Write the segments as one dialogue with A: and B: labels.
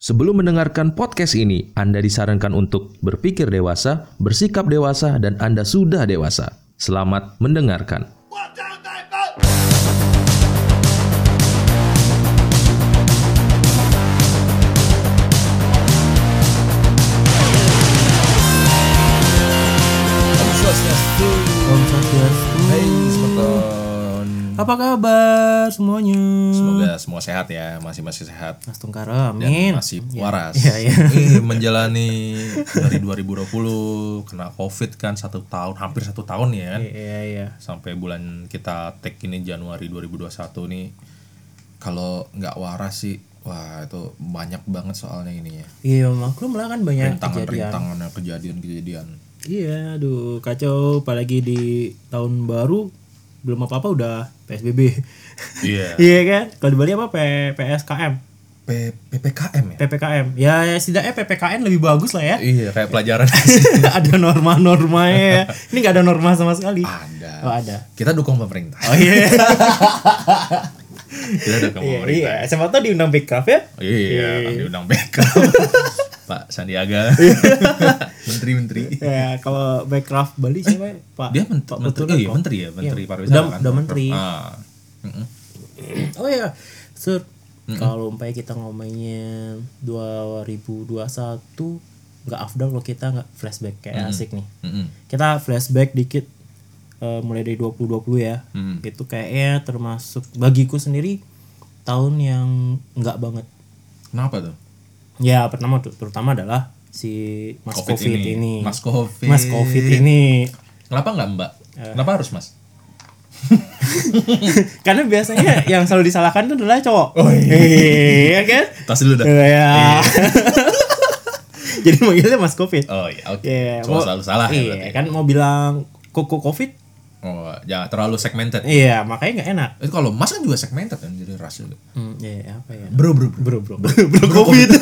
A: Sebelum mendengarkan podcast ini, Anda disarankan untuk berpikir dewasa, bersikap dewasa, dan Anda sudah dewasa. Selamat mendengarkan.
B: Watch out, they vote!
C: Om Swastiastu.
D: Hai Smarton
C: Apa kabar semuanya?
D: Semoga semua sehat ya Masih-masih sehat
C: Mas
D: Iya,
C: Tungkara, Hmm. amin.
D: Masih waras
C: Iya, iya.
D: Eh, Menjalani dari 2020 Kena covid kan satu tahun Hampir satu tahun ya kan
C: Iya, iya.
D: Sampai bulan kita tag ini Januari 2021 nih Kalau nggak waras sih Wah itu banyak banget soalnya ini ya
C: Iya, maklum lah kan banyak
D: Iya.
C: kejadian.
D: Rintangan-rintangan kejadian-kejadian
C: Iya, aduh, kacau apalagi di tahun baru belum apa-apa udah PSBB.
D: Iya
C: Iya kan? Kalau di Bali apa P- PSKM,
D: P- PPKM ya?
C: PPKM. Ya, ya setidaknya PPKN lebih bagus lah ya.
D: Iya kayak pelajaran
C: ada norma-normanya ya. Ini nggak ada norma sama sekali.
D: Ada
C: Oh, ada.
D: Kita dukung pemerintah
C: Oh iya.
D: Kita dukung
C: Iya,
D: pemerintah
C: iya. Siapa tahu diundang backup ya.
D: Iya, kami undang Beckham. Pak Sandiaga. Menteri-menteri.
C: Ya, kalau backcraft Bali siapa ya? Pak?
D: Dia ment-
C: Pak
D: menteri,
C: Putri,
D: iya,
C: Pak.
D: menteri ya, menteri
C: Iya.
D: pariwisata
C: Udah-
D: kan?
C: udah menteri.
D: Ah. Mm-mm.
C: Oh iya, Sur. Kalau umpamanya kita ngomongin 2021 nggak afdal kalau kita nggak flashback kayak asik nih.
D: Mm-mm.
C: Kita flashback dikit eh, mulai dari 2020 ya.
D: Mm.
C: Itu kayaknya termasuk bagiku sendiri tahun yang nggak banget.
D: Kenapa tuh?
C: Ya, pertama tuh terutama adalah si Mas Covid, ini.
D: Mas Covid.
C: Mas Covid ini
D: Kenapa nggak Mbak?
C: Eh.
D: Kenapa harus Mas?
C: Karena biasanya yang selalu disalahkan itu adalah cowok. Oh iya. kan?
D: Tas dulu dah.
C: Iya. Jadi manggilnya Mas Covid.
D: Oh iya, oke.
C: Iya,
D: Cuma
C: mau-
D: selalu salah ya
C: Iya,
D: berarti.
C: kan mau bilang koko Covid.
D: Oh, jangan terlalu segmented.
C: Iya, makanya nggak enak.
D: Itu kalau Mas kan juga segmented kan jadi ras juga.
C: Hmm, iya, apa ya?
D: Bro, bro, bro.
C: Bro, bro, bro, bro Covid.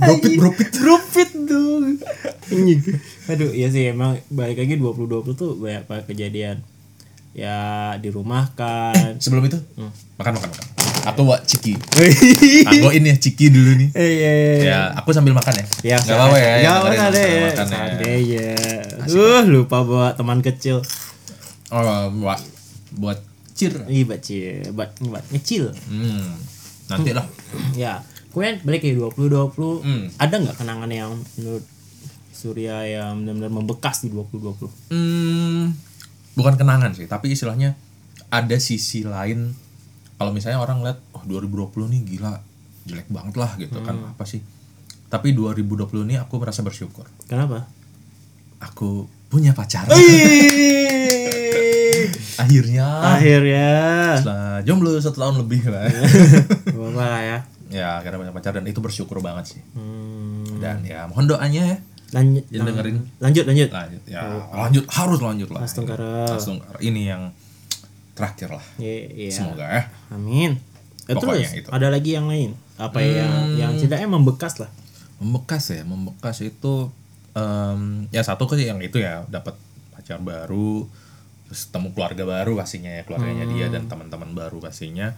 D: Bropit, bropit.
C: bro Fit dong. Anjing. Aduh, iya sih emang balik lagi 2020 tuh banyak banget kejadian. Ya di rumah kan.
D: Sebelum itu, makan makan makan. Atau Wak Ciki. Tanggoin ya Ciki dulu nih.
C: Eh, iya, iya, iya.
D: Ya, aku sambil makan ya.
C: Ya,
D: Nggak apa-apa ya.
C: Gak
D: dengerin
C: apa-apa deh.
D: sambil makan ya.
C: Santai ya. Uh, lupa bawa teman kecil.
D: Oh, buat, buat cheer.
C: Ih, baci, buat buat ngecil.
D: Hmm, nanti lah.
C: ya. Kemudian balik ke 2020,
D: Hmm.
C: ada nggak kenangan yang menurut Surya yang benar-benar membekas di 2020?
D: Hmm, bukan kenangan sih, tapi istilahnya ada sisi lain. Kalau misalnya orang lihat, oh 2020 nih gila, jelek banget lah gitu kan apa sih? Tapi 2020 ini aku merasa bersyukur.
C: Kenapa?
D: Aku punya pacar.
C: Ih,
D: Akhirnya
C: Akhirnya.
D: setelah jomblo satu tahun lebih lah.
C: Bapak lah ya.
D: ya, karena punya pacar dan itu bersyukur banget sih.
C: Hmm,
D: Dan ya mohon doanya ya.
C: lanjut,
D: Jadi dengerin.
C: lanjut, lanjut.
D: lanjut ya lanjut harus lanjut lah
C: Mas Tungkara.
D: Mas Tungkara. ini yang terakhir lah
C: Iya, iya.
D: semoga ya
C: Amin. Eh,
D: Pokoknya gitu. Hmm. itu.
C: terus ada lagi yang lain? Apa yang yang setidaknya membekas lah?
D: membekas ya membekas itu em, ya satu ke yang itu ya dapat pacar baru terus temu keluarga baru pastinya ya keluarganya dia dan
C: Hmm.
D: teman-teman baru pastinya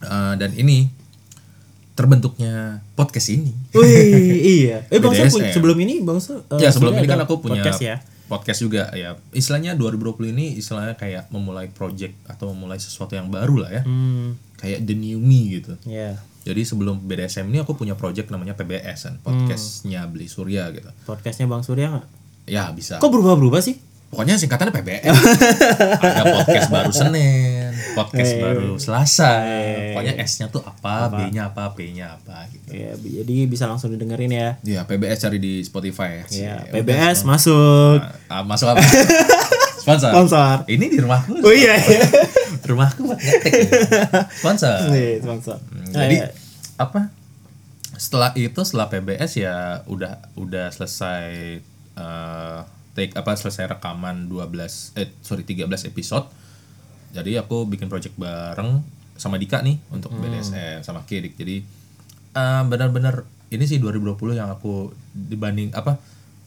D: Eh, dan ini terbentuknya podcast ini
C: Wih, iya. Eh Bang Sur
D: BDSM.
C: punya- sebelum ini Bang Sur eh,
D: ya sebelum
C: sebenarnya
D: ini kan
C: ada
D: aku punya
C: podcast ya.
D: podcast juga ya istilahnya 2020 ini istilahnya kayak memulai project atau memulai sesuatu yang baru lah ya
C: Hmm,
D: kayak the new me gitu
C: ya.
D: Jadi sebelum BDSM ini aku punya project namanya PBS kan, podcastnya Beli Surya gitu.
C: Podcastnya Bang Surya nggak?
D: Ya bisa.
C: Hmm. Kok berubah-berubah sih?
D: Pokoknya singkatannya PBS. Ada podcast baru Senin, podcast baru Selasa. Pokoknya S-nya tuh apa, B-nya apa, P-nya apa gitu.
C: Ya, bi- jadi bisa langsung didengerin ya.
D: Ya PBS cari di Spotify ya.
C: Ya,
D: Sih.
C: PBS masuk.
D: Ah, masuk apa? Sponsor.
C: Sponsor.
D: Ini di rumahku.
C: Oh iya.
D: Rumahku buat ngetik. Sponsor.
C: Nih, sponsor.
D: Nah. Hmm,
C: Nah,
D: jadi
C: ya.
D: apa? Setelah itu setelah PBS ya udah udah selesai eh, take apa selesai rekaman 12 eh sorry 13 episode. Jadi aku bikin project bareng sama Dika nih untuk BDSM sama Kirik. Jadi eh, benar-benar ini sih 2020 yang aku dibanding apa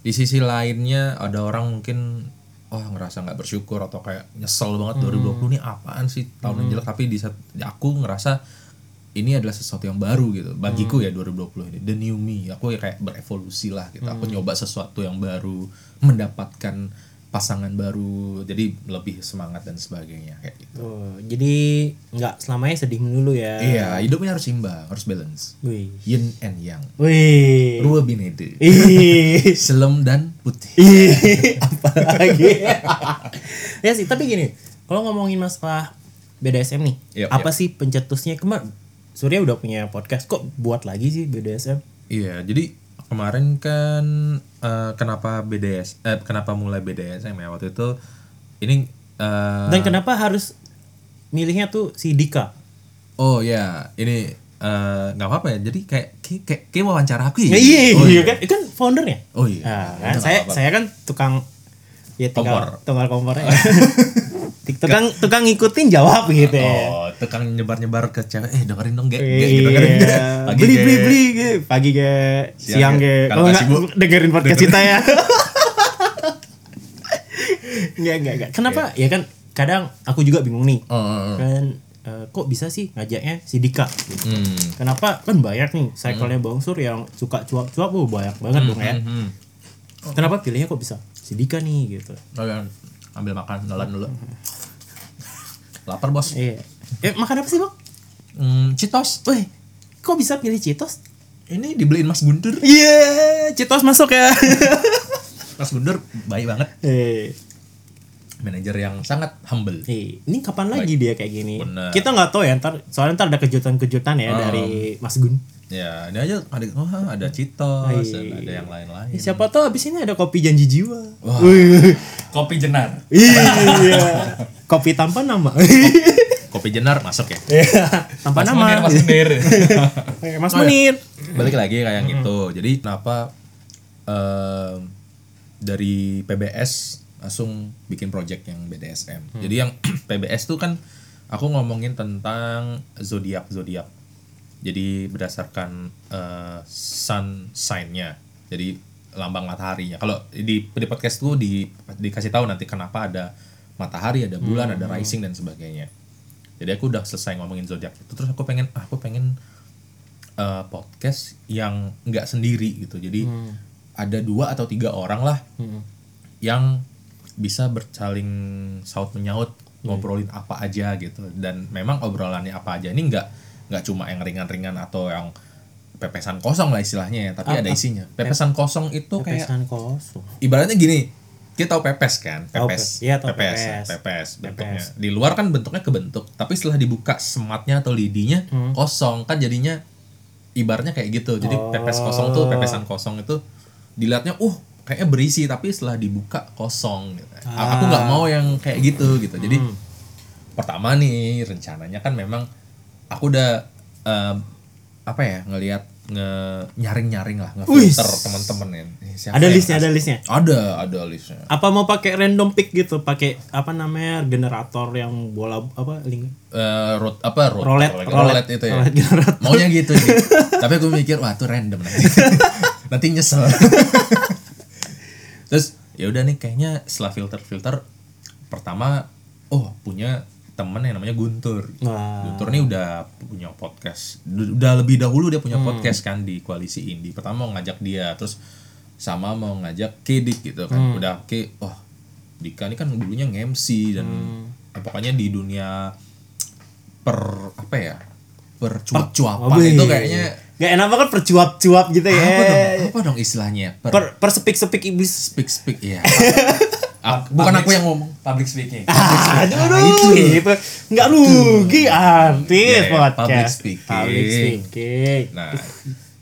D: di sisi lainnya ada orang mungkin wah ngerasa nggak bersyukur atau kayak nyesel banget 2020 nih apaan sih tahun yang jelek tapi di saat- aku ngerasa ini adalah sesuatu yang baru gitu bagiku ya 2020 ini the new me aku ya kayak berevolusi lah gitu aku nyoba sesuatu yang baru mendapatkan pasangan baru jadi lebih semangat dan sebagainya kayak gitu
C: Oh, jadi nggak selamanya sedih melulu ya.
D: iya hidupnya harus imbang harus balance
C: Wih.
D: yin and yang
C: Wih.
D: rua binede
C: Eh. Ih.
D: selem dan putih
C: Ih, apalagi. ya sih, tapi gini, kalau ngomongin masalah BDSM nih,
D: Yap,
C: apa sih pencetusnya kemarin? Surya udah punya podcast, kok buat lagi sih BDSM?
D: Iya, jadi kemarin kan eh, kenapa BDS eh, kenapa mulai BDSM ya waktu itu ini eh,
C: Dan kenapa harus milihnya tuh si Dika?
D: oh ya ini eh, nggak apa-apa ya. Jadi kayak kayak, kayak, kayak wawancara aku ya.
C: Iya,
D: oh,
C: iya kan, kan foundernya.
D: Oh iya.
C: Nah,
D: Ya,
C: kan saya
D: nggak apa-apa.
C: saya kan tukang ya tukang
D: Kompor.
C: tukang kompornya. tukang tukang ngikutin jawab gitu ya.
D: Oh, tukang nyebar-nyebar ke cewek, eh dengerin dong, ge, ge,
C: Iya.
D: dengerin ge. kan. Pagi,
C: beli
D: ge.
C: beli beli ge. pagi ge siang
D: Siang, ge.
C: ge
D: Kalau
C: kalau
D: nggak
C: nggak
D: sibuk,
C: dengerin podcast kita ya nggak nggak nggak kenapa
D: Iya.
C: ya kan kadang aku juga bingung nih
D: Oh, oh, oh.
C: kan eh, kok bisa sih ngajaknya si Dika gitu.
D: Hmm.
C: kenapa kan banyak nih cycle-nya bongsur yang suka cuap-cuap oh, banyak banget dong ya
D: Hmm.
C: kenapa pilihnya kok bisa si Dika nih gitu
D: Oh, ya. ambil makan nelan dulu. Lapar, Bos.
C: iya eh makan apa sih bang?
D: Hmm, Citos.
C: Wih, kok bisa pilih Citos?
D: Ini dibeliin Mas Guntur.
C: Iya, Citos masuk ya.
D: Mas Guntur baik banget.
C: Eh,
D: manajer yang sangat humble.
C: eh, ini kapan lagi dia kayak gini?
D: Bener.
C: Kita nggak tahu ya ntar, soalnya ntar ada kejutan-kejutan ya dari
D: Um.
C: Mas Gun.
D: Ya, ini aja ada oh, ada Citos,
C: Hai.
D: ada yang lain-lain.
C: Eh, Siapa tahu abis ini ada kopi janji jiwa.
D: Wah. Kopi Jenar.
C: iya, kopi tanpa nama.
D: Kopi Jenar masuk ya.
C: tanpa
D: Mas Munir,
C: nama. Iya.
D: Mas Munir.
C: Eh, Mas Munir.
D: Balik lagi kayak yang itu. Jadi kenapa em, dari PBS langsung bikin project yang BDSM. Jadi yang PBS tuh kan aku ngomongin tentang zodiak zodiak. Jadi berdasarkan eh, sun sign-nya. Jadi lambang mataharinya. Kalau di di podcast tuh di dikasih tahu nanti kenapa ada matahari, ada bulan, ada rising dan sebagainya. Jadi aku udah selesai ngomongin zodiak itu terus aku pengen ah, aku pengen eh, podcast yang nggak sendiri gitu. Jadi ada dua atau tiga orang lah yang bisa bersaling saut menyaut ngobrolin apa aja gitu dan memang obrolannya apa aja ini nggak nggak cuma yang ringan-ringan atau yang pepesan kosong lah istilahnya ya tapi ada isinya pepesan kosong itu kayak
C: Pesan kosong.
D: ibaratnya gini kita tahu pepes kan
C: Tahu
D: pepes
C: pes. Iya, tahu
D: pepes
C: pepes.
D: pepes bentuknya di luar kan bentuknya kebentuk tapi setelah dibuka sematnya atau lidinya
C: Hmm.
D: kosong kan jadinya ibaratnya kayak gitu jadi
C: Oh.
D: pepes kosong tuh pepesan kosong itu dilihatnya uh kayaknya berisi tapi setelah dibuka kosong gitu. A- aku nggak mau yang kayak gitu gitu jadi
C: Hmm.
D: pertama nih rencananya kan memang aku udah eh, apa ya ngelihat nge nyaring nyaring lah ngefilter teman-teman ya Siapa
C: Ada
D: yang
C: listnya, ada listnya.
D: ada, ada listnya.
C: Apa mau pakai random pick gitu? Pakai apa namanya generator yang bola apa? Ling
D: Eh, rot apa rot,
C: Roulette,
D: roulette,
C: roulette.
D: itu ya.
C: Roulette generator.
D: Maunya gitu sih. Tapi aku mikir wah itu random nanti. nanti nyesel. Terus ya udah nih kayaknya setelah filter-filter pertama oh punya temen yang namanya Guntur.
C: Wah.
D: Guntur nih udah punya podcast. Du- Udah lebih dahulu dia
C: Hmm.
D: punya podcast kan di koalisi Indi. Pertama mau ngajak dia, terus sama mau ngajak Kedik gitu kan.
C: Hmm.
D: Udah ke oh Dika ini kan dulunya nge-MC dan
C: Hmm.
D: eh, pokoknya di dunia per apa ya? percuap-cuapan
C: Wih.
D: itu kayaknya
C: Gak enak banget percuap-cuap gitu ya.
D: apa dong apa dong istilahnya? Per,
C: Per persepik-sepik iblis.
D: speak speak ya. bukan aku yang ngomong public speaking.
C: Ah,
D: Nah,
C: aduh, gitu. Nggak rugi
D: Ya,
C: artis
D: ya,
C: podcast.
D: public speaking.
C: Public speaking.
D: Nah,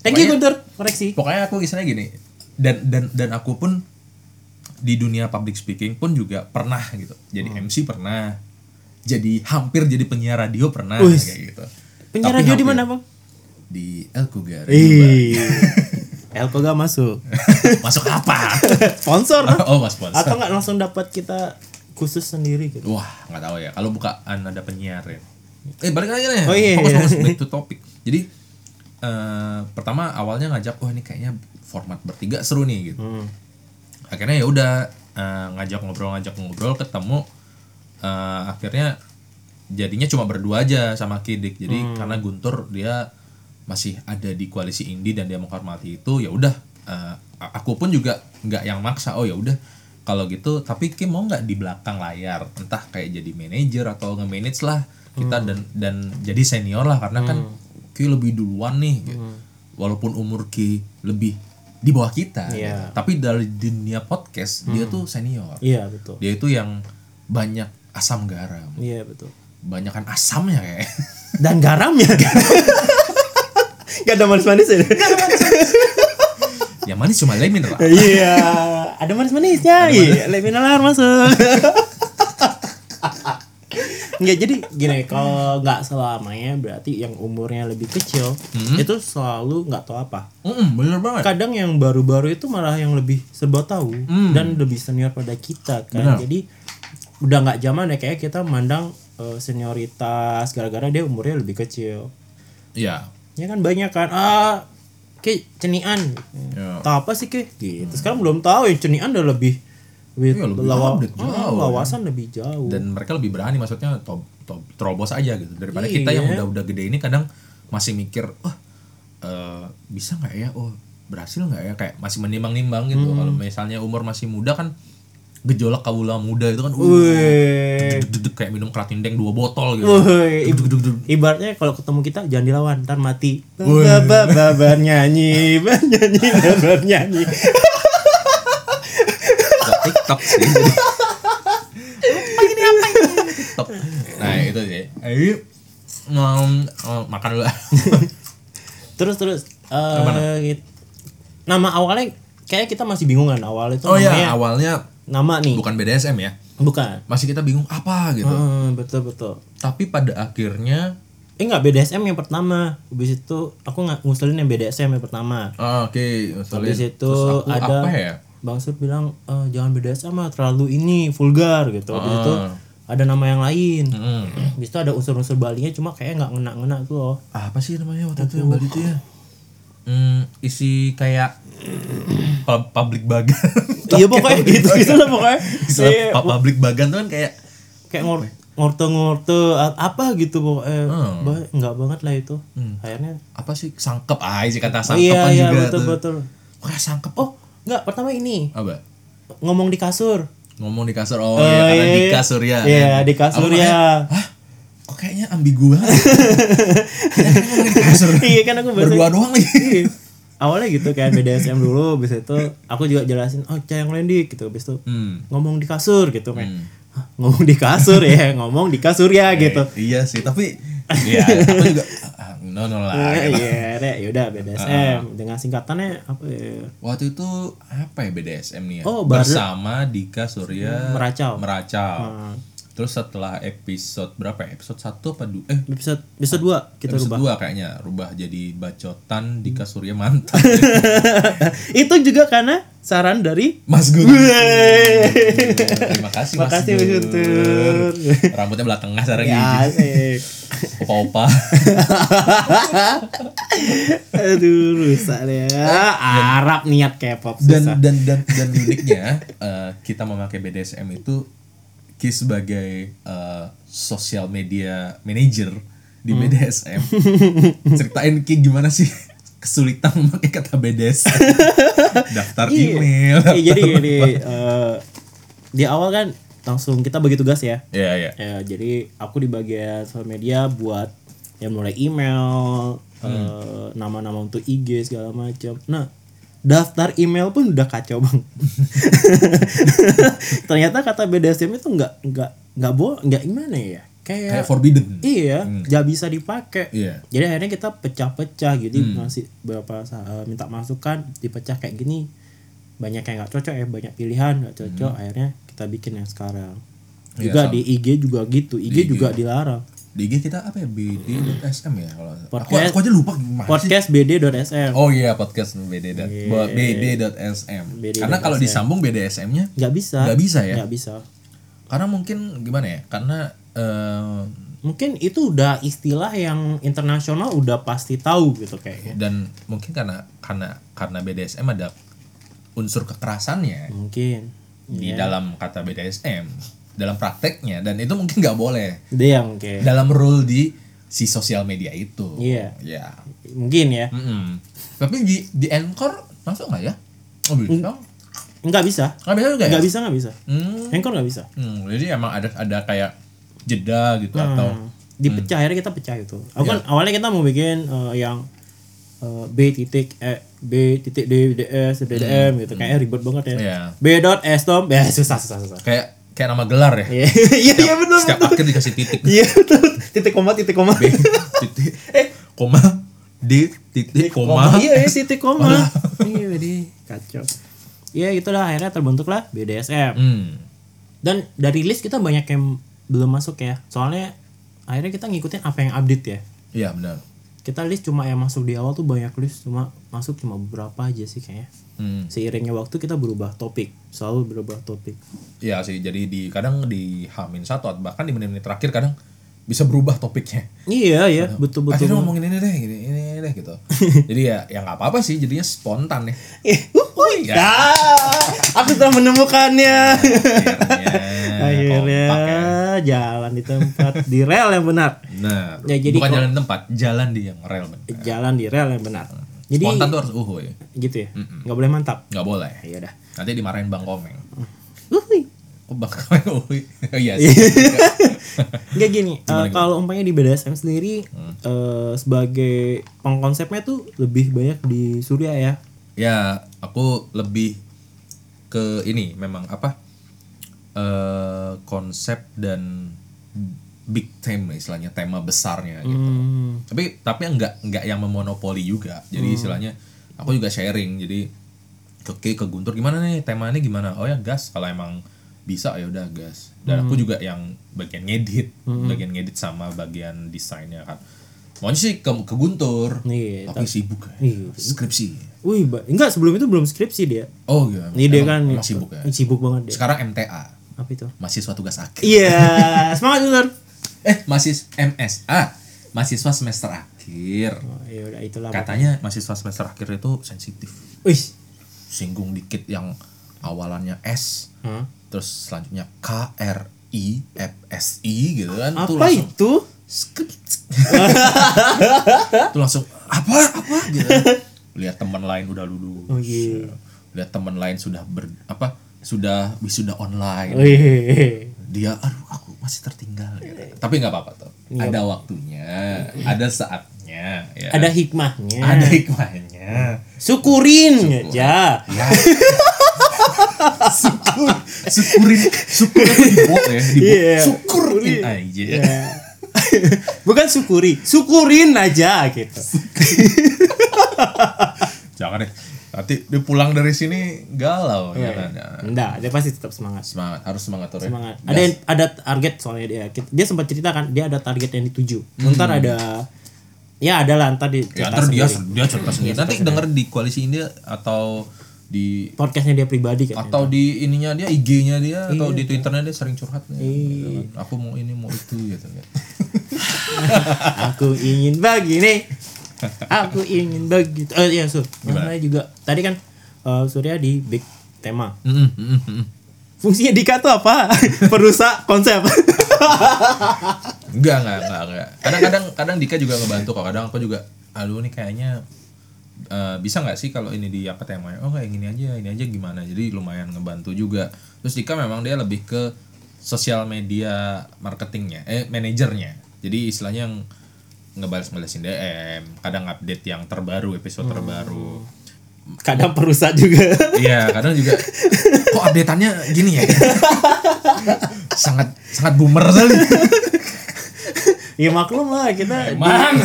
C: Thank you Guntur, koreksi.
D: pokoknya aku misalnya gini dan dan dan aku pun di dunia public speaking pun juga pernah gitu jadi
C: Hmm.
D: MC pernah jadi hampir jadi penyiar radio pernah
C: Wih.
D: kayak gitu
C: Penyiar
D: Tapi
C: radio di
D: hampir.
C: mana, Bang?
D: di El Cougar
C: Ih.
D: Iya.
C: Elko gak masuk.
D: masuk apa
C: Sponsor. nah.
D: oh mas sponsor
C: Atau nggak langsung dapat kita khusus sendiri gitu.
D: Wah, nggak tahu ya. Kalau bukaan ada penyiar ya. Eh, balik lagi nih.
C: Oh, iya,
D: Fokus,
C: iya.
D: fokus back to topic. Jadi eh, pertama awalnya ngajak, wah ini kayaknya format bertiga seru nih gitu.
C: Hmm.
D: Akhirnya ya udah eh, ngajak ngobrol, ngajak ngobrol, ketemu. Eh, akhirnya jadinya cuma berdua aja sama Kidik jadi karena Guntur dia masih ada di koalisi indie dan dia menghormati itu ya udah eh, a- aku pun juga nggak yang maksa oh ya udah kalau gitu tapi Kim mau nggak di belakang layar entah kayak jadi manajer atau nge-manage lah kita dan dan jadi senior lah karena kan Ki lebih duluan nih gitu. walaupun umur Ki lebih di bawah kita
C: Iya.
D: gitu. tapi dari dunia podcast dia tuh senior
C: Iya betul.
D: dia itu yang banyak asam garam
C: Iya betul.
D: banyakkan asamnya kayak
C: Dan garamnya. Gak ada manis-manis ya?
D: yang manis cuma lemon lah
C: Iya, ada manis-manisnya. Iya, lebih nalar masuk. Nggak jadi gini kalau nggak selamanya berarti yang umurnya lebih kecil itu selalu nggak tahu apa.
D: Mm-mm, bener banget
C: Kadang yang baru-baru itu malah yang lebih serba tahu dan lebih senior pada kita kan. Jadi udah nggak zaman ya kayak kita mandang eh, senioritas gara-gara dia umurnya lebih kecil.
D: ya
C: Ya kan banyak kan ah kayak cenian.
D: Ya.
C: Tahu apa sih kayak gitu. Sekarang belum tahu ya cenian udah lebih lebih,
D: Iya, lebih
C: lawa-
D: update
C: ah,
D: jauh,
C: lawasan lebih jauh.
D: dan mereka lebih berani maksudnya to- to- terobos aja gitu daripada kita
C: Iya.
D: yang udah-udah gede ini kadang masih mikir oh eh, bisa nggak ya oh berhasil nggak ya kayak masih menimbang-nimbang gitu
C: Hmm.
D: kalau misalnya umur masih muda kan gejolak kawula muda itu kan uh,
C: Wih.
D: deg-deg kayak minum keratin deng dua botol gitu
C: Wih.
D: Deg-deg-deg-deg.
C: Ibaratnya kalau ketemu kita jangan dilawan, ntar mati. Babar babar nyanyi, babar nyanyi, babar nyanyi.
D: Gak TikTok sih. apa ini apa ini? TikTok. Nah itu sih. Ayo mau mau makan dulu.
C: Terus terus eh, gitu. nama awalnya kayak kita masih bingung kan awal itu
D: oh ya
C: namanya
D: awalnya
C: nama nih.
D: bukan BDSM ya.
C: Bukan.
D: Masih kita bingung apa gitu.
C: Eh, betul betul.
D: Tapi pada akhirnya
C: Eh nggak BDSM yang pertama. Habis itu aku nggak ngusulin yang BDSM yang pertama.
D: ah, oke masalah
C: Habis itu
D: aku
C: ada
D: apa ya?
C: Bang Sur bilang "Eh, jangan BDSM lah terlalu ini vulgar gitu. Habis itu
D: Ah.
C: ada nama yang lain.
D: Hmm.
C: Habis itu ada unsur-unsur Balinya cuma kayak nggak ngena-ngena tuh loh.
D: Apa sih namanya waktu itu yang Bali itu ya? Hmm, isi kayak pub- public bagan.
C: Iya pokoknya gitu gitu lah pokoknya.
D: Istilah
C: Iya,
D: pub- public bagan tuh kan kayak
C: kayak ngor ngorte-ngorte a- apa gitu pokoknya.
D: Ah.
C: Ba- nggak banget lah itu. Akhirnya
D: apa sih sangkep ah isi kata
C: Oh,
D: sangkep
C: iya
D: kan
C: iya
D: Hmm. juga
C: betul
D: tuh.
C: betul.
D: Wah sangkep oh
C: Nggak pertama ini
D: apa
C: ngomong di kasur.
D: ngomong di kasur oh iya karena di kasur ya
C: Iya, Iya, di kasur
D: Aku makanya,
C: ya.
D: Hah? kok kayaknya ambigu banget Ya, kan ngomong di kasur
C: Iya kan aku baru
D: berdua doang nih
C: Iya. awalnya gitu kayak BDSM dulu habis itu aku juga jelasin oh cah yang lain dik gitu habis itu
D: Hmm.
C: ngomong di kasur gitu kayak "Hah, ngomong di kasur ya ngomong di kasur ya gitu
D: iya sih tapi iya aku juga ah, no no lah
C: Eh, iya deh yaudah
D: Ah.
C: BDSM dengan singkatannya apa ya
D: waktu itu apa ya BDSM nih ya
C: Oh, bar-
D: bersama Dika Surya
C: Meracau. Hmm.
D: meracau terus setelah episode berapa ya? episode 1 apa 2 eh
C: episode episode dua kita
D: episode
C: rubah
D: dua kayaknya rubah jadi bacotan Dika Surya mantap
C: itu juga karena saran dari
D: Mas Gun. Terima kasih Mas
C: Makasih, Mas
D: Gun.
C: Gun.
D: Rambutnya belah tengah sekarang
C: ya
D: gini.
C: asik.
D: Opa-opa.
C: aduh rusak deh Arab niat K-pop
D: Eh,
C: susah
D: Dan dan dan dan uniknya eh, kita memakai BDSM itu Ki sebagai eh, social media manager di
C: Hmm.
D: BDSM. Ceritain Ki gimana sih kesulitan memakai kata BDSM. Daftar email.
C: Iya, jadi jadi eh, di awal kan langsung kita bagi tugas ya.
D: Iya, iya.
C: Ya, jadi aku di bagian social media buat yang mulai email,
D: Hmm.
C: eh, nama-nama untuk IG segala macam. Nah, daftar email pun udah kacau bang. Ternyata kata BDSM itu nggak nggak nggak bo nggak gimana ya?
D: Kayak forbidden.
C: Iya, nggak bisa dipakai.
D: Iya.
C: Jadi akhirnya kita pecah-pecah gitu
D: Hmm.
C: ngasih beberapa sa- eh, minta masukan dipecah kayak gini. Banyak yang nggak cocok ya, banyak pilihan nggak cocok. Akhirnya kita bikin yang sekarang.
D: Hmm. Iya,
C: Juga
D: sama.
C: di IG juga gitu. IG, juga dilarang.
D: Di IG kita apa ya? BD.SM ya kalau aku,
C: Hmm. Podcast.
D: aku aja lupa gimana sih.
C: Podcast Iya. BD.SM.
D: Oh iya podcast BD dan BD.SM. Karena kalau disambung BDSM-nya
C: Nggak bisa.
D: Nggak bisa ya?
C: Nggak bisa.
D: karena mungkin gimana ya? Karena eh,
C: Mungkin itu udah istilah yang internasional udah pasti tahu gitu kayaknya.
D: dan mungkin karena karena karena BDSM ada unsur kekerasannya
C: Mungkin.
D: di dalam kata BDSM. dalam prakteknya dan itu mungkin nggak boleh
C: Dia yang kayak
D: dalam rule di si sosial media itu.
C: Iya.
D: Ya.
C: mungkin ya.
D: Mm-mm. Tapi di di Anchor masuk nggak ya? Oh, bisa.
C: Enggak bisa.
D: Hmm. Nggak bisa juga ya?
C: Enggak Mm. bisa, enggak bisa.
D: Hmm.
C: Anchor enggak bisa.
D: Hmm, jadi emang ada ada kayak jeda gitu
C: Hmm.
D: atau
C: Dipecah akhirnya kita pecah itu. Aku
D: Iya.
C: kan awalnya kita mau bikin eh, yang eh, B titik E B titik D D S D D M gitu kayaknya ribet banget ya.
D: Hmm. Iya.
C: B dot S tom ya susah susah susah.
D: kayak kayak nama gelar ya.
C: Iya iya iya benar.
D: Setiap akhir dikasih titik.
C: Iya betul. Titik koma titik koma.
D: B titik Eh, koma D titik koma. Oh.
C: Iya iya titik koma. Iya deh kacau. Iya itulah akhirnya terbentuklah BDSM.
D: Hmm.
C: Dan dari list kita banyak yang belum masuk ya. Soalnya akhirnya kita ngikutin apa yang update ya.
D: Iya benar.
C: Kita list cuma yang masuk di awal tuh banyak list cuma masuk cuma beberapa aja sih kayaknya.
D: Hmm.
C: Seiringnya waktu kita berubah topik, selalu berubah topik.
D: Iya sih, jadi di kadang di Hamin satu atau bahkan di menit-menit terakhir kadang bisa berubah topiknya.
C: Iya ya, betul betul.
D: Akhirnya ngomongin ini deh, gini, ini deh gitu. jadi ya ya nggak apa-apa sih, jadinya spontan ya.
C: ya. aku telah menemukannya.
D: Akhirnya.
C: Akhirnya
D: Iya, Eh, kompak ya.
C: jalan di tempat di rel yang benar.
D: Nah,
C: Ya, jadi
D: bukan
C: kok-
D: jalan tempat, jalan di yang rel. men.
C: Jalan di rel yang benar. Jadi
D: Eh. Spontan Ah, iya tuh harus uhuy.
C: gitu ya. nggak boleh mantap.
D: Nggak boleh.
C: Ya udah.
D: Nanti dimarahin Bang Komeng.
C: Uhuy.
D: Kok Bang Komeng uhuy? Oh, Iya sih.
C: Nggak gini, eh, kalau umpamanya di BDSM sendiri
D: Hmm.
C: eh, sebagai pengkonsepnya tuh lebih banyak di Surya ya.
D: ya aku lebih ke ini memang apa eh konsep dan big theme istilahnya tema besarnya gitu
C: Hmm,
D: tapi tapi nggak nggak yang memonopoli juga jadi istilahnya aku juga sharing jadi ke Ki, ke Guntur gimana nih temanya gimana oh ya gas kalau emang bisa ya udah gas dan
C: Hmm.
D: aku juga yang bagian ngedit bagian ngedit sama bagian desainnya kan maunya sih ke ke Guntur
C: Iya,
D: tapi sibuk ya.
C: Iya.
D: skripsi
C: Wih, ba- enggak sebelum itu belum skripsi dia.
D: oh iya
C: Ini dia kan
D: emang sibuk ya
C: Sibuk banget dia.
D: sekarang MTA
C: Apa itu?
D: mahasiswa tugas akhir
C: Iya, semangat Guntur.
D: eh mahasis MSA mahasiswa semester akhir
C: Oh, ya udah itulah.
D: katanya mahasiswa semester akhir itu sensitif
C: Wih.
D: singgung dikit yang awalannya S
C: Hah?
D: terus selanjutnya K R I F S I gitu kan tuh
C: Apa
D: langsung
C: itu?
D: skip tuh langsung apa apa gitu lihat teman lain udah lulus
C: Oh, iya.
D: lihat teman lain sudah ber apa sudah wisuda
C: Oh, iya.
D: online
C: Wih.
D: dia aduh aku masih tertinggal gitu. tapi nggak apa-apa tuh ada waktunya ada saatnya ya.
C: Iya. Ada hikmahnya.
D: ada hikmahnya
C: Syukurin aja.
D: Ya. syukur syukurin syukur itu di bot ya di bot
C: Iya.
D: syukurin aja
C: Bukan syukuri, syukurin aja gitu.
D: jangan deh nanti dia pulang dari sini galau ya
C: Iya.
D: kan Jangan.
C: Enggak, dia pasti tetap semangat.
D: semangat harus semangat ya. tuh Ren.
C: semangat. Ada yang, ada target soalnya dia. Kit- Dia sempat cerita kan, dia ada target yang dituju. Ntar ada ya ada lah ntar di
D: Hmm. ya,
C: cerita
D: ntar dia
C: sendiri. Iya,
D: dia cerita sendiri nanti denger di koalisi ini atau di
C: podcastnya dia pribadi kan.
D: atau di ininya dia IG-nya dia
C: Iya,
D: atau di Twitternya dia sering curhat ya, gitu kan. aku mau ini mau itu gitu kan
C: aku ingin begini. Aku ingin begitu. Oh iya, Sur. Makanya juga tadi kan eh, Surya di big tema.
D: Mm, mm, mm, mm.
C: Fungsinya Dika tuh apa? Perusak konsep.
D: Enggak, enggak, enggak, enggak. Kadang-kadang kadang Dika juga ngebantu kok. Kadang aku juga aduh nih kayaknya eh, bisa nggak sih kalau ini diangkat temanya? Oh, kayak gini aja, ini aja gimana. Jadi lumayan ngebantu juga. Terus Dika memang dia lebih ke sosial media marketingnya, eh manajernya. Jadi istilahnya yang ngebalas-balasin DM, kadang update yang terbaru, episode terbaru.
C: Kadang perusak juga.
D: Iya, kadang juga kok updateannya gini ya. sangat sangat boomer sekali.
C: ya maklum lah kita
D: Emang.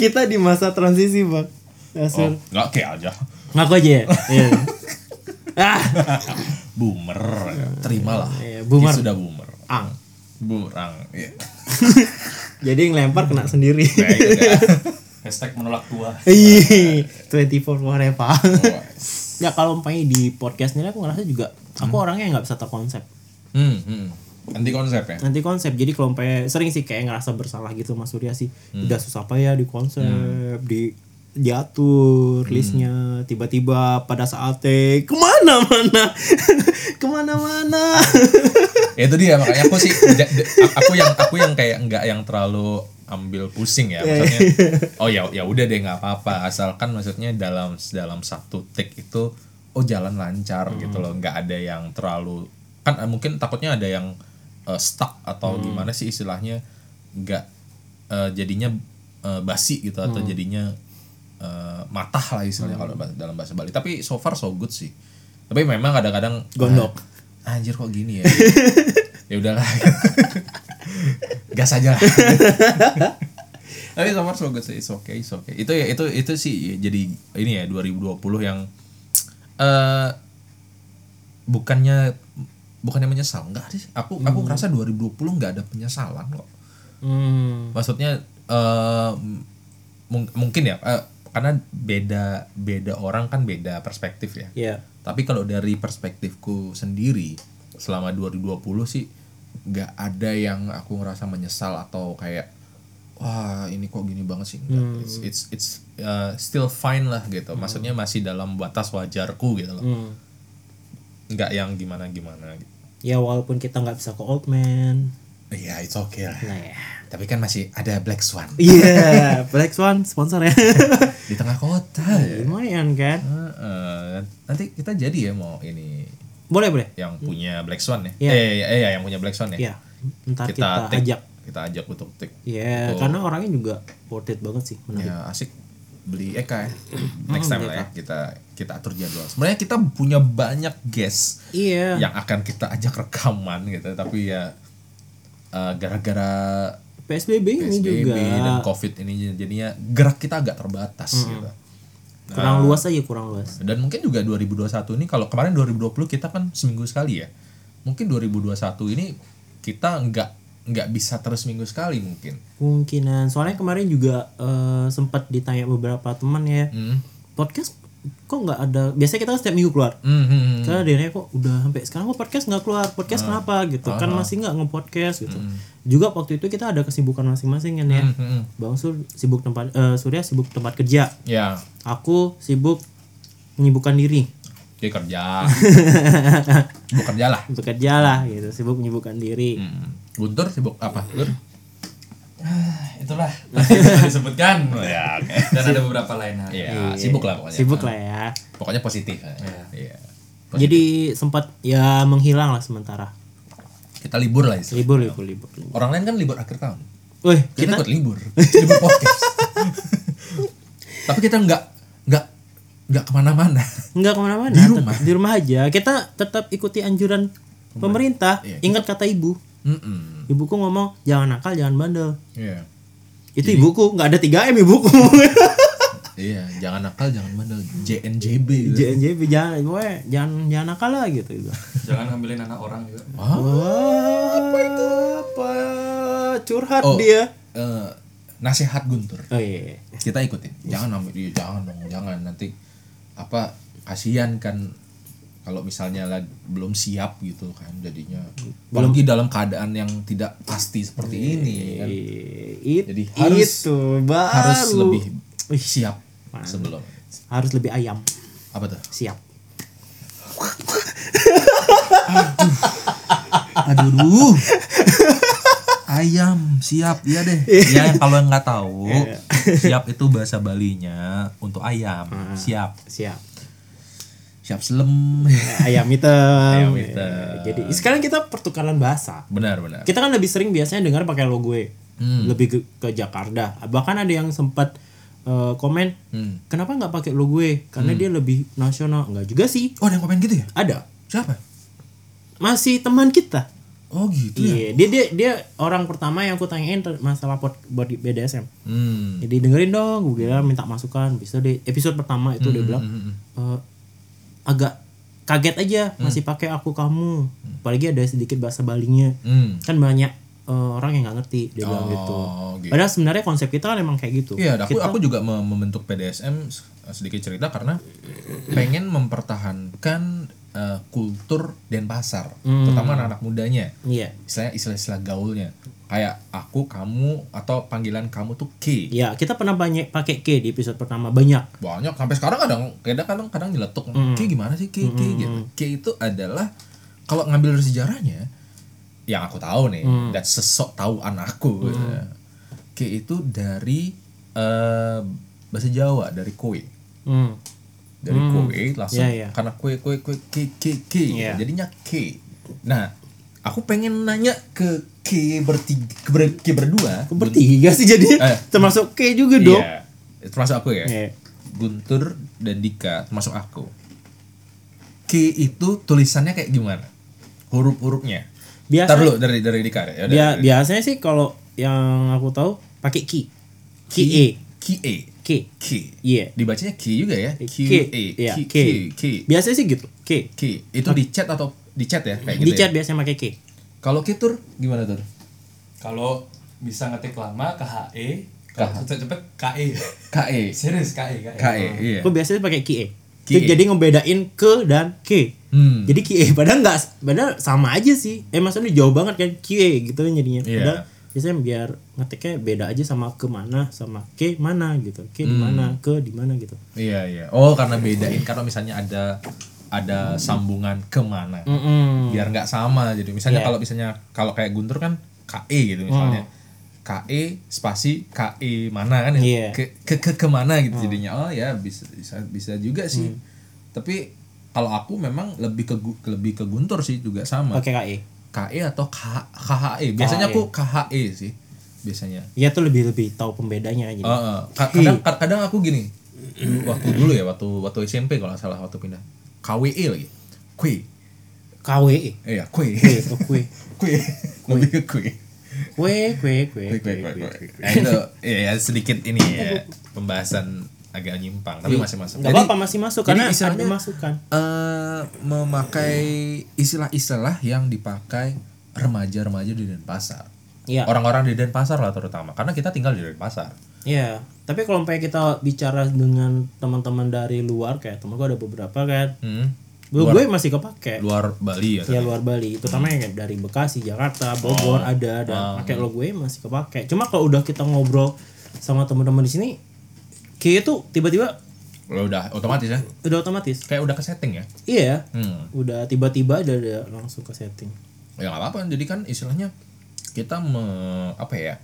C: kita di masa transisi, Bang. Ya,
D: Oh,
C: Sur.
D: enggak kayak aja.
C: Ngaku aja ya. Iya. ah,
D: boomer terimalah
C: Iya, boomer.
D: Dia sudah boomer
C: ang.
D: burang iya
C: Jadi ngelempar kena sendiri.
D: Kayak gitu ya.
B: Hashtag menolak tua.
C: Iya, 24 whatever.
D: Wise.
C: ya kalau umpamanya di podcast ini aku ngerasa juga aku orangnya nggak bisa terkonsep.
D: hmm, hmm. anti konsep ya
C: Nanti konsep. Jadi kalau Hmm. umpamanya sering sih kayak ngerasa bersalah gitu Mas Surya sih. Udah susah payah ya di konsep, di diatur listnya tiba-tiba pada saat take kemana-mana kemana-mana
D: ya itu dia makanya aku sih ja- de- a- aku yang aku yang kayak nggak yang terlalu ambil pusing ya maksudnya oh ya ya udah deh nggak apa-apa asalkan maksudnya dalam dalam satu take itu oh jalan lancar gitu loh nggak ada yang terlalu kan eh, mungkin takutnya ada yang eh, stuck atau gimana sih istilahnya nggak eh, jadinya eh, basi gitu atau jadinya eh, matah lah istilahnya kalau bah- dalam bahasa Bali tapi so far so good sih tapi memang kadang-kadang
C: Gondok.
D: "Ah, anjir kok gini ya ya udahlah gas aja lah tapi so far so good sih it's okay it's okay itu ya itu itu sih jadi ini ya 2020 yang eh bukannya bukannya menyesal enggak sih aku aku ngerasa 2020 nggak ada penyesalan kok
C: hmm.
D: maksudnya eh, mung- mungkin ya eh, karena beda beda orang kan beda perspektif ya
C: ya
D: tapi kalau dari perspektifku sendiri selama 2020 sih nggak ada yang aku ngerasa menyesal atau kayak wah ini kok gini banget sih Nggak.
C: Hmm.
D: it's it's, it's, uh, still fine lah gitu maksudnya masih dalam batas wajarku gitu loh
C: Hmm.
D: nggak yang gimana gimana gitu
C: ya walaupun kita nggak bisa ke old man
D: Iya, it's okay lah.
C: nah ya
D: Tapi kan masih ada Black Swan
C: iya Black Swan sponsor ya
D: di tengah kota.
C: lumayan kan
D: Heeh. nanti kita jadi ya mau ini
C: boleh boleh
D: yang punya Black Swan ya.
C: Iya.
D: Eh, iya, iya, yang punya Black Swan ya.
C: ya ntar
D: Kita,
C: kita,
D: take-
C: ajak
D: Kita ajak untuk tik.
C: ya karena orangnya juga worth it banget sih menarik
D: Ya asik beli Eka ya.
C: Hmm.
D: Next time lah ya kita kita atur jadwal. Sebenarnya kita punya banyak guest
C: iya
D: yang akan kita ajak rekaman gitu, tapi ya eh, gara-gara
C: PSBB ini
D: PSBB
C: juga Hmm.
D: dan COVID ini jadinya gerak kita agak terbatas gitu. Ah.
C: kurang luas aja kurang luas
D: Dan mungkin juga 2021 ini kalau kemarin 2020 kita kan seminggu sekali ya. Mungkin 2021 ini kita nggak nggak bisa terus minggu sekali mungkin.
C: kemungkinan soalnya kemarin juga eh, sempat ditanya beberapa teman ya
D: Hmm.
C: podcast kok nggak ada biasanya kita kan setiap minggu keluar
D: Hmm, hmm, hmm.
C: karena dia nanya, kok udah sampai sekarang kok podcast nggak keluar podcast
D: Ah.
C: kenapa gitu kan masih nggak ngepodcast gitu juga waktu itu kita ada kesibukan masing-masing kan ya
D: Hmm, hmm, hmm.
C: bang sur sibuk tempat eh, surya sibuk tempat kerja
D: Ya,
C: aku sibuk menyibukkan diri
D: dia kerja. Bekerja lah.
C: bekerja lah gitu sibuk menyibukkan diri
D: Hmm. Guntur sibuk apa? Ah, Guntur?
B: Itulah yang disebutkan.
D: Ya, oke.
B: Dan ada beberapa lain hal.
D: Iya, sibuk lah pokoknya.
C: sibuk lah ya
D: Pokoknya positif. ya. Iya.
C: jadi sempat ya menghilang lah sementara
D: Kita libur lah istilahnya.
C: libur libur libur, libur.
D: Orang lain kan libur akhir tahun.
C: Wih,
D: Kita, ikut libur. libur podcast. Tapi kita nggak nggak nggak kemana-mana.
C: nggak kemana-mana
D: Di
C: tetap-
D: rumah.
C: di rumah aja kita tetap ikuti anjuran pemerintah
D: Iya, kita-
C: ingat kata ibu
D: Mm-mm.
C: ibuku ngomong jangan nakal jangan bandel
D: Iya.
C: itu ibuku nggak ada 3 m ibuku
D: Iya, jangan nakal, jangan bandel. JNJB. gitu.
C: JNJB jangan gue jangan jangan nakal lah gitu gitu
B: Jangan ngambilin anak orang juga.
D: Wah.
C: wah apa itu apa curhat
D: Oh,
C: dia
D: eh, nasihat Guntur.
C: oh iya
D: kita ikutin jangan ambil iya, jangan dong jangan nanti apa kasihan kan kalau misalnya lagi belum siap gitu kan jadinya belum di dalam keadaan yang tidak pasti seperti ini kan
C: It-
D: Jadi harus-
C: itu baru
D: harus lebih siap sebelum
C: harus lebih ayam
D: apa tuh
C: siap
D: aduh duh. ayam siap ya deh ya kalau yang nggak tahu siap itu bahasa Balinya untuk ayam siap
C: siap Eh,
D: siap selem
C: ayam hitam.
D: Ayam hitam.
C: Ya, Jadi sekarang kita pertukaran bahasa.
D: benar benar
C: Kita kan lebih sering biasanya dengar pakai lo gue.
D: Hmm.
C: Lebih ke, ke Jakarta. Bahkan ada yang sempat eh, komen,
D: Hmm.
C: "Kenapa nggak pakai lo gue? Karena dia lebih nasional." Enggak juga sih.
D: oh ada yang komen gitu ya
C: Ada.
D: siapa
C: Masih teman kita.
D: oh gitu ya
C: Iya, dia dia dia orang pertama yang aku tanyain ter- masalah pod, buat di BDSM.
D: Hmm.
C: Jadi dengerin Ya, dong, gue bilang minta masukan. Bisa deh episode pertama itu dia
D: Hmm,
C: bilang "Eh, agak kaget aja
D: Hmm.
C: masih pakai aku kamu. Apalagi ada sedikit bahasa Balinya.
D: Hmm.
C: Kan banyak eh, orang yang nggak ngerti dia bilang gitu.
D: Oh, gitu.
C: Padahal sebenarnya konsep kita kan emang kayak gitu.
D: Iya, aku
C: Kita-
D: aku juga me- membentuk PDSM s- sedikit cerita karena pengen mempertahankan
C: Hmm.
D: eh, kultur Denpasar, terutama anak-anak mudanya.
C: Iya.
D: Istilah istilah-istilah gaulnya. kayak aku kamu atau panggilan kamu tuh Ki
C: Ya, kita pernah banyak pakai K di episode pertama banyak.
D: banyak sampai sekarang kadang kadang kadang kadang nyeletuk ki gimana sih ki ki gitu ki itu adalah kalau ngambil dari sejarahnya yang aku tahu nih dan sesok tahuan aku gitu ya. ki itu dari eh, bahasa Jawa dari kue
C: Hmm.
D: dari kue langsung
C: Iya, iya.
D: karena kue kue kue ki ki ki gitu.
C: Iya.
D: jadinya ki nah aku pengen nanya ke ki bertiga ke ber- ki berdua
C: Kok bertiga sih jadinya?
D: Eh.
C: Termasuk K juga dong.
D: Iya. termasuk aku ya
C: Iya.
D: Guntur dan Dika termasuk aku. Ki itu tulisannya kayak gimana? Huruf-hurufnya.
C: Biasa-
D: Ntar dulu dari dari Dika deh. Ya, dari-
C: Bia-
D: dari-
C: biasanya sih kalau yang aku tahu pakai Ki. Ki E.
D: Ki E.
C: Ki.
D: Ki.
C: Iya.
D: Dibacanya Ki juga ya. Q E.
C: Iya,
D: Ki
C: K.
D: Ki Ki.
C: Biasanya sih gitu. K.
D: Ki. Itu di chat atau di chat ya kayak
C: Di
D: gitu. ya?
C: chat biasanya pakai K.
D: Kalau Kitur gimana tuh?
B: Kalau bisa ngetik lama KHE, kalau cepet cepet KE.
D: E, K E.
B: Serius KE KE.
D: K E. Iya.
C: Aku biasanya pakai Ki E.
D: Ki E.
C: Jadi ngebedain ke dan K.
D: Hmm.
C: Jadi Ki E padahal enggak padahal sama aja sih. Eh maksudnya jauh banget kan Ki E gitu kan jadinya.
D: Iya.
C: Padahal biasanya biar ngetiknya beda aja sama ke mana sama K mana gitu. K di
D: Hmm.
C: mana, ke di mana gitu.
D: Iya iya. Oh karena bedain karena misalnya ada ada sambungan kemana.
C: Mm-mm.
D: biar nggak sama jadi misalnya
C: Hmm. Iya. Hmm.
D: kalau misalnya kalau kayak Guntur kan KE gitu misalnya KE spasi KE mana kan ya
C: Iya. Hmm.
D: ke ke ke kemana gitu jadinya oh ya bisa bisa bisa juga sih tapi kalau aku memang lebih ke Gu- lebih ke Guntur sih juga sama
C: Pakai K E.
D: KE atau KH KHE E. biasanya aku KHE sih biasanya
C: Ya tuh lebih lebih tahu pembedanya aja.
D: Eh, eh. Ka- kadang kad- kadang aku gini dulu- waktu dulu ya waktu waktu SMP kalau nggak salah waktu pindah KWE lagi kue
C: KWE.
D: iya kue
C: Kue, oh, kue.
D: kue E. lebih ke E. kue
C: Kue, kue, kue.
D: Kue, kue, kue, kue, kue. Nah, itu ya, ya, sedikit ini ya pembahasan agak nyimpang tapi masih masuk.
C: Enggak apa-apa masih masuk
D: jadi
C: karena ada
D: istilahnya-
C: masukan.
D: eh, memakai istilah-istilah yang dipakai remaja-remaja di Denpasar.
C: Iya.
D: Orang-orang di Denpasar lah terutama karena kita tinggal di Denpasar.
C: Iya, tapi kalau misalnya kita bicara dengan teman-teman dari luar kayak temen gue ada beberapa kan.
D: Hmm.
C: Gue gue masih kepake.
D: Luar Bali ya.
C: ya luar Bali terutama yang kayak dari Bekasi Jakarta Bogor ada dan pakai lo gue masih kepake cuma kalau udah kita ngobrol sama teman-teman di sini kayak itu tiba-tiba
D: Lo udah otomatis ya.
C: udah otomatis
D: Kayak udah ke setting ya.
C: iya
D: Hmm.
C: udah tiba-tiba ada, ada langsung ke setting
D: Ya nggak apa-apa. Jadi kan istilahnya kita me- apa ya?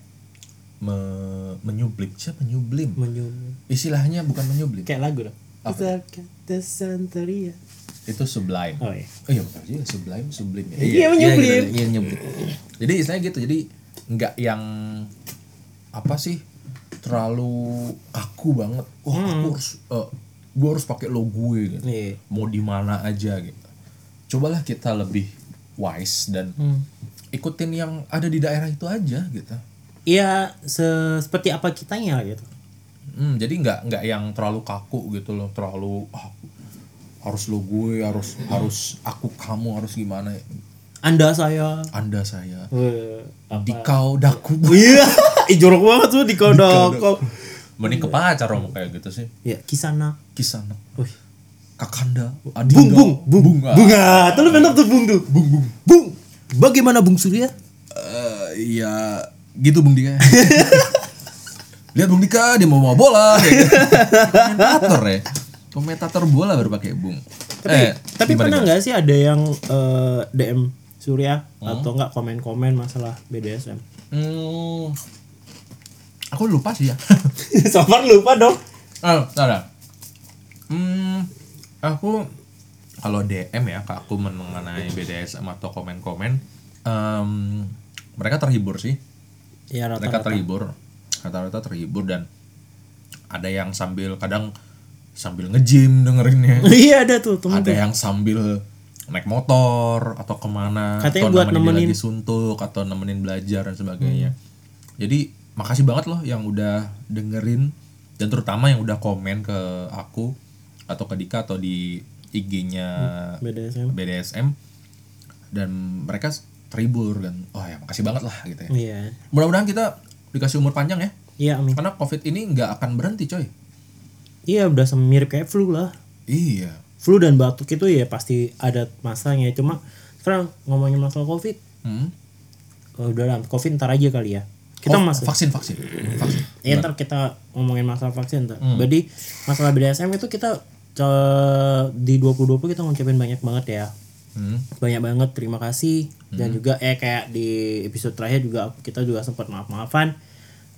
D: Me- menyublim siapa menyublim
C: menyum
D: istilahnya bukan menyublim
C: kayak lagu dong Zakat Santeria
D: itu sublime
C: oh iya
D: Oh iya benar juga sublime sublim ya.
C: Iya, menyublim.
D: gitu, Iya nyublim. Jadi istilahnya gitu. Jadi nggak yang apa sih terlalu kaku banget. Wah aku harus eh, gua harus pakai lo gue gitu.
C: Hmm. Iya.
D: Mau di mana aja gitu. Cobalah kita lebih wise dan
C: Hmm.
D: ikutin yang ada di daerah itu aja gitu.
C: Iya, se- seperti apa kitanya gitu.
D: Hmm, jadi nggak nggak yang terlalu kaku gitu loh, terlalu "Ah, harus lo gue, harus harus aku kamu harus gimana. ya,
C: Anda saya.
D: Anda saya.
C: Weh, apa?
D: Dikau daku
C: Iya, ih, jorok banget tuh di kodok.
D: Mending ke pacar om kayak gitu sih.
C: Ya, kisana.
D: Kisana,
C: Wih.
D: Kakanda, Adinda,
C: Bung, bung, bung,
D: Bunga.
C: bunga. Tuh lu bener tuh bung tuh. Bung, bung, bung. Bagaimana Bung Surya?
D: Eh, iya, gitu Bung Dika. Lihat Bung Dika, dia mau bawa bola. kayak gitu. Komentator ya. Komentator bola baru pakai Bung. Eh,
C: Tapi, tapi pernah nggak sih ada yang eh, DM Surya atau nggak komen-komen masalah BDSM?
D: Hmm, aku lupa sih ya.
C: Sabar lupa dong.
D: Ah, ada. Hmm, aku kalau DM ya, Kak, aku mengenai BDSM atau komen-komen, em, mereka terhibur sih.
C: Iya,
D: Mereka
C: rata-rata.
D: terhibur, rata-rata terhibur dan ada yang sambil kadang sambil nge-gym dengerinnya,
C: Iya ada tuh temen
D: ada
C: tuh.
D: yang sambil naik motor atau kemana,
C: Katanya
D: atau
C: buat
D: dia
C: nemenin. Hmm.
D: lagi suntuk atau nemenin belajar dan sebagainya. Jadi makasih banget loh yang udah dengerin dan terutama yang udah komen ke aku atau ke Dika atau di IG-nya
C: BDSM.
D: BDSM dan mereka terhibur kan. Oh ya makasih banget lah gitu ya.
C: Iya.
D: Mudah-mudahan kita dikasih umur panjang ya.
C: Iya, amin.
D: Karena Covid ini nggak akan berhenti, coy.
C: Iya, udah mirip kayak flu lah.
D: Iya.
C: flu dan batuk itu ya pasti ada masanya cuma sekarang ngomongin masalah covid
D: Hmm.
C: eh, oh, udah lah covid ntar aja kali ya
D: Oh,
C: kita masuk
D: vaksin vaksin. vaksin.
C: ya ntar kita ngomongin masalah vaksin ntar
D: Hmm.
C: jadi masalah BDSM itu kita eh, di 2020 kita ngucapin banyak banget ya
D: Hmm.
C: banyak banget terima kasih dan juga eh kayak di episode terakhir juga kita juga sempat maaf maafan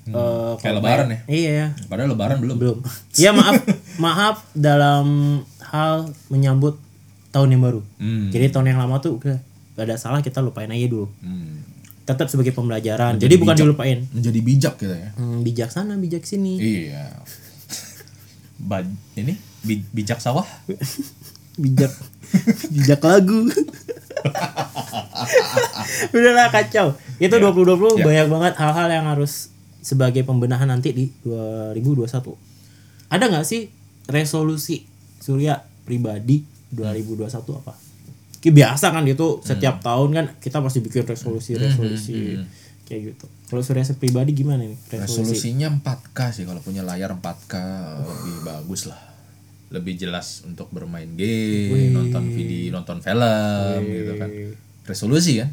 D: Hmm. Kayak lebaran ya?
C: iya
D: Padahal lebaran belum.
C: belum ya maaf maaf dalam hal menyambut tahun yang baru jadi tahun yang lama tuh udah gak ada salah kita lupain aja dulu
D: Hmm.
C: tetap sebagai pembelajaran jadi bukan dilupain
D: Menjadi bijak kita ya.
C: hmm, bijak sana bijak sini
D: Iya. Baj ini bi- bijak sawah.
C: bijak bijak lagu udahlah kacau itu 2020 banyak banget hal-hal yang harus sebagai pembenahan nanti di 2021 ada nggak sih resolusi Surya pribadi 2021 apa kayak biasa kan itu setiap tahun kan kita pasti bikin resolusi resolusi kayak gitu kalau Surya pribadi gimana nih resolusi,
D: Resolusinya 4K sih kalau punya layar 4K lebih bagus lah. Lebih jelas untuk bermain game, nonton video, nonton film gitu kan. Resolusi kan?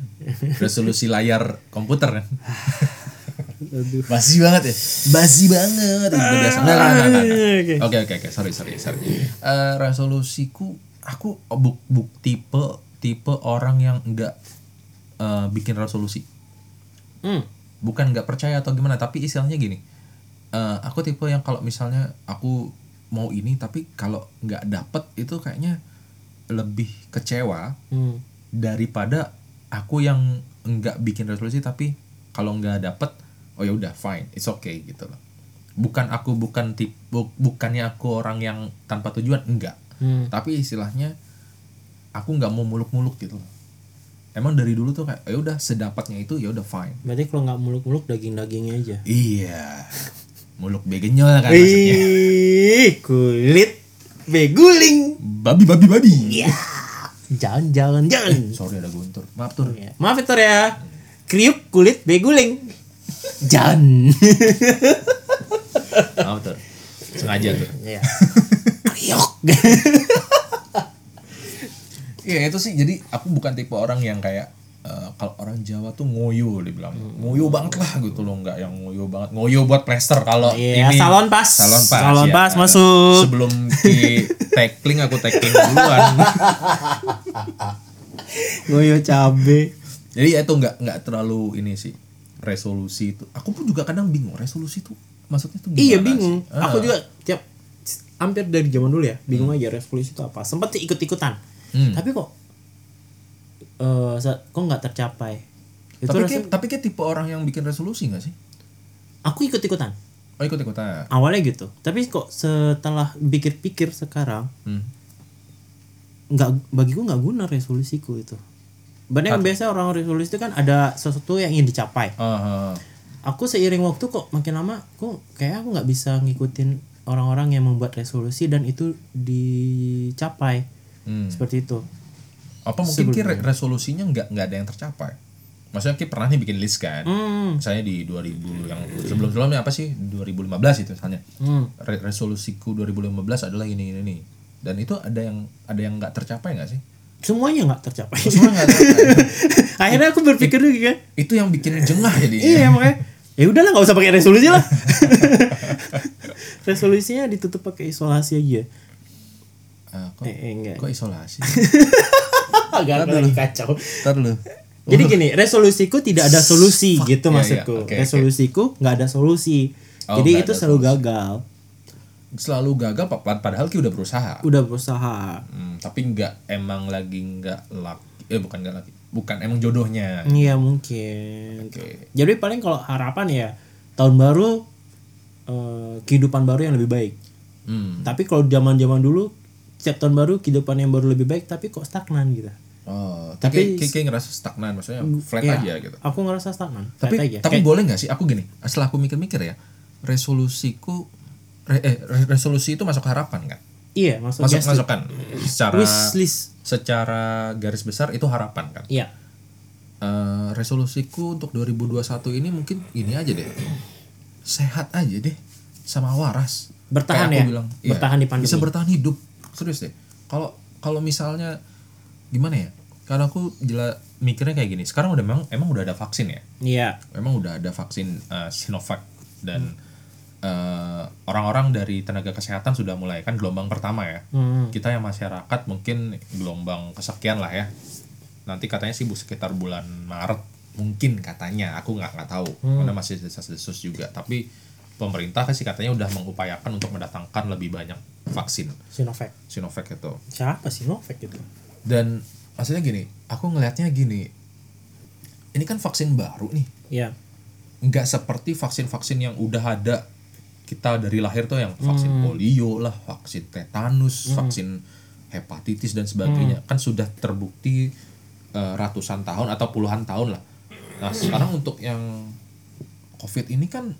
D: Resolusi layar komputer kan.
C: Aduh.
D: Basi banget ya. Basi banget. Itu biasa. Nah, nah, nah, nah, nah.
C: Ah, Oke.
D: Oke oke oke, sorry sorry sorry. Eh, resolusiku aku buk, buk tipe tipe orang yang enggak eh, bikin resolusi.
C: Hmm.
D: Bukan enggak percaya atau gimana, tapi istilahnya gini. Eh, aku tipe yang kalau misalnya aku mau ini tapi kalau nggak dapet itu kayaknya lebih kecewa
C: Hmm.
D: daripada aku yang enggak bikin resolusi tapi kalau nggak dapet oh ya udah fine it's okay gitu loh bukan aku bukan tip bu- bukannya aku orang yang tanpa tujuan enggak
C: Hmm.
D: tapi istilahnya aku nggak mau muluk-muluk gitu loh emang dari dulu tuh kayak ya udah sedapatnya itu ya udah fine
C: berarti kalau nggak muluk-muluk daging-dagingnya aja
D: iya muluk begenyol
C: Nah,
D: kan maksudnya
C: Ih, kulit beguling.
D: babi babi babi
C: Iya. Jangan, jangan, jangan.
D: sorry ada guntur maaf tuh
C: Maaf Victor ya. Kriuk kulit beguling. Jangan.
D: maaf tuh sengaja tuh
C: Iya. Kriuk.
D: Iya itu sih jadi aku bukan tipe orang yang kayak eh, kalau orang Jawa tuh ngoyo dibilang
C: Hmm.
D: ngoyo banget lah gitu loh nggak yang ngoyo banget ngoyo buat plester kalau
C: Iya,
D: ini
C: salon pas.
D: salon pas
C: Salon
D: ya.
C: pas masuk.
D: sebelum di tackling aku tackling duluan
C: Ngoyo cabe.
D: jadi ya itu nggak nggak terlalu ini sih resolusi itu aku pun juga kadang bingung resolusi itu maksudnya tuh gimana
C: Iya
D: sih?
C: bingung.
D: Ah,
C: Aku juga tiap hampir dari zaman dulu ya bingung aja resolusi itu apa. Sempet sih ikut-ikutan.
D: Hmm.
C: Tapi kok eh sa- kok nggak tercapai? Itu
D: tapi
C: rasanya-
D: kayak, tapi kayak tipe orang yang bikin resolusi nggak sih
C: aku ikut-ikutan.
D: oh ikut ikutan
C: awalnya gitu tapi kok setelah pikir-pikir sekarang
D: hmm.
C: nggak bagiku nggak guna resolusiku itu Banyak biasa orang resolusi itu kan ada sesuatu yang ingin dicapai
D: Ah, ah.
C: aku seiring waktu kok makin lama aku kayak aku nggak bisa ngikutin orang-orang yang membuat resolusi dan itu dicapai
D: Hmm.
C: seperti itu
D: apa mungkin Ki,
C: ya?
D: re- resolusinya nggak nggak ada yang tercapai maksudnya Ki pernah nih bikin list kan
C: Hmm.
D: misalnya di 2000 yang sebelum sebelumnya apa sih 2015 itu misalnya
C: Hmm.
D: Re- resolusiku 2015 adalah ini ini ini dan itu ada yang ada yang nggak tercapai nggak sih
C: semuanya nggak tercapai
D: Semua nggak
C: gitu.
D: tercapai.
C: akhirnya aku berpikir juga kan
D: itu yang bikin jengah jadi
C: iya makanya ya udahlah nggak usah pakai resolusi lah resolusinya ditutup pakai isolasi aja
D: Ah, kok,
C: eh, eh enggak
D: kok isolasi
C: agak lagi kacau.
D: ntar lu
C: Jadi gini, resolusiku tidak ada solusi
D: Iya, iya.
C: gitu maksudku.
D: Oke, oke.
C: resolusiku nggak ada solusi.
D: Oh,
C: Jadi
D: nggak
C: itu
D: ada
C: selalu gagal.
D: selalu gagal pa- pa- padahal Ki udah berusaha
C: Udah berusaha.
D: Hmm, tapi nggak emang lagi nggak laki eh bukan nggak laki bukan emang jodohnya
C: Iya mungkin.
D: Oke.
C: Jadi paling kalau harapan ya tahun baru eh, kehidupan baru yang lebih baik.
D: Hmm.
C: Tapi kalau zaman-zaman dulu setiap tahun baru kehidupan yang baru lebih baik tapi kok stagnan gitu.
D: Oh, tapi
C: Tapi-
D: kayak, kayak ngerasa stagnan maksudnya flat
C: Iya,
D: aja gitu.
C: Aku ngerasa stagnan.
D: Tapi
C: flat aja.
D: tapi
C: Kayak-
D: boleh nggak sih aku gini, setelah aku mikir-mikir ya, resolusiku re- eh, re- resolusi itu masuk harapan kan?
C: iya masuk
D: Masuk
C: guest list.
D: masukan secara
C: wish list.
D: secara garis besar itu harapan kan.
C: Iya.
D: Eh, resolusiku untuk 2021 ini mungkin ini aja deh. Sehat aja deh sama waras. Kayak
C: Bertahan
D: aku
C: ya?
D: bilang, Iya.
C: Bertahan di pandemi.
D: Bisa bertahan hidup. Serius deh. Kalau kalau misalnya gimana ya? Karena aku jelas mikirnya kayak gini. Sekarang udah memang emang udah ada vaksin ya.
C: Iya.
D: Memang udah ada vaksin eh, Sinovac
C: Hmm.
D: dan eh, orang-orang dari tenaga kesehatan sudah mulai kan gelombang pertama ya.
C: Hmm.
D: Kita yang masyarakat mungkin gelombang kesekian lah ya. Nanti katanya sih bu sekitar bulan Maret mungkin katanya. Aku nggak nggak tahu. Karena masih desas-desus juga. Tapi pemerintah kan sih katanya udah mengupayakan untuk mendatangkan lebih banyak vaksin
C: Sinovac.
D: Sinovac itu.
C: Siapa Sinovac itu?
D: Dan maksudnya gini, aku ngelihatnya gini. Ini kan vaksin baru nih.
C: Iya.
D: Nggak seperti vaksin-vaksin yang udah ada kita dari lahir tuh yang vaksin
C: Hmm.
D: polio lah, vaksin tetanus, vaksin hepatitis dan sebagainya.
C: Hmm.
D: Kan sudah terbukti eh, ratusan tahun atau puluhan tahun lah.
C: Hmm.
D: Nah, sekarang untuk yang COVID ini kan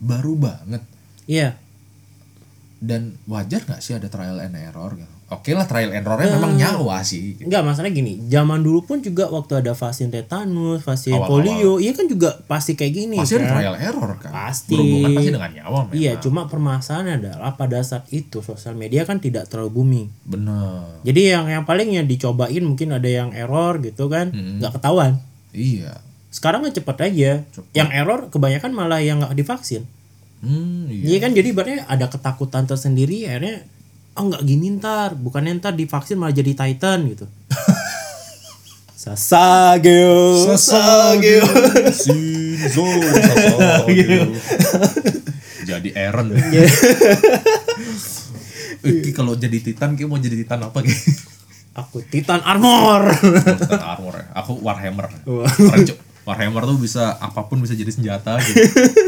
D: baru banget
C: Iya.
D: dan wajar nggak sih ada trial and error gitu. Oke lah trial and errornya memang
C: Hmm.
D: nyawa sih.
C: Enggak, masalah gini. Zaman dulu pun juga waktu ada vaksin tetanus, vaksin
D: Awal-awal.
C: polio, iya kan juga pasti kayak gini
D: pasti ada
C: kan?
D: trial error kan
C: Pasti.
D: berhubungan pasti dengan nyawa memang
C: Iya, cuma permasalahan adalah pada saat itu sosial media kan tidak terlalu booming.
D: bener
C: Jadi yang yang paling yang dicobain mungkin ada yang error gitu kan,
D: Hmm.
C: nggak ketahuan.
D: iya
C: Sekarang kan cepet aja. Yang error kebanyakan malah yang nggak divaksin.
D: hmm iya
C: Iya kan jadi berarti ada ketakutan tersendiri akhirnya oh nggak gini ntar bukannya ntar divaksin malah jadi titan gitu. Sasageo. Sasageo.
D: Shinzo Sasago. jadi Aaron Ih, Ki, kalau jadi Titan kayak mau jadi Titan apa Ki?
C: Aku Titan Armor.
D: Titan armor ya. Aku Warhammer. Keren, Cuk. Warhammer tuh bisa apapun bisa jadi senjata gitu.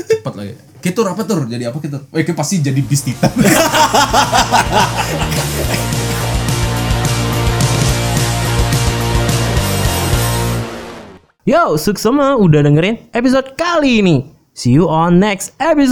D: Cepet lagi. Kitur apa tur? Jadi apa kitur? Eh, Ki, pasti jadi Beast Titan.
E: Yo, semua udah dengerin episode kali ini. See you on next episode.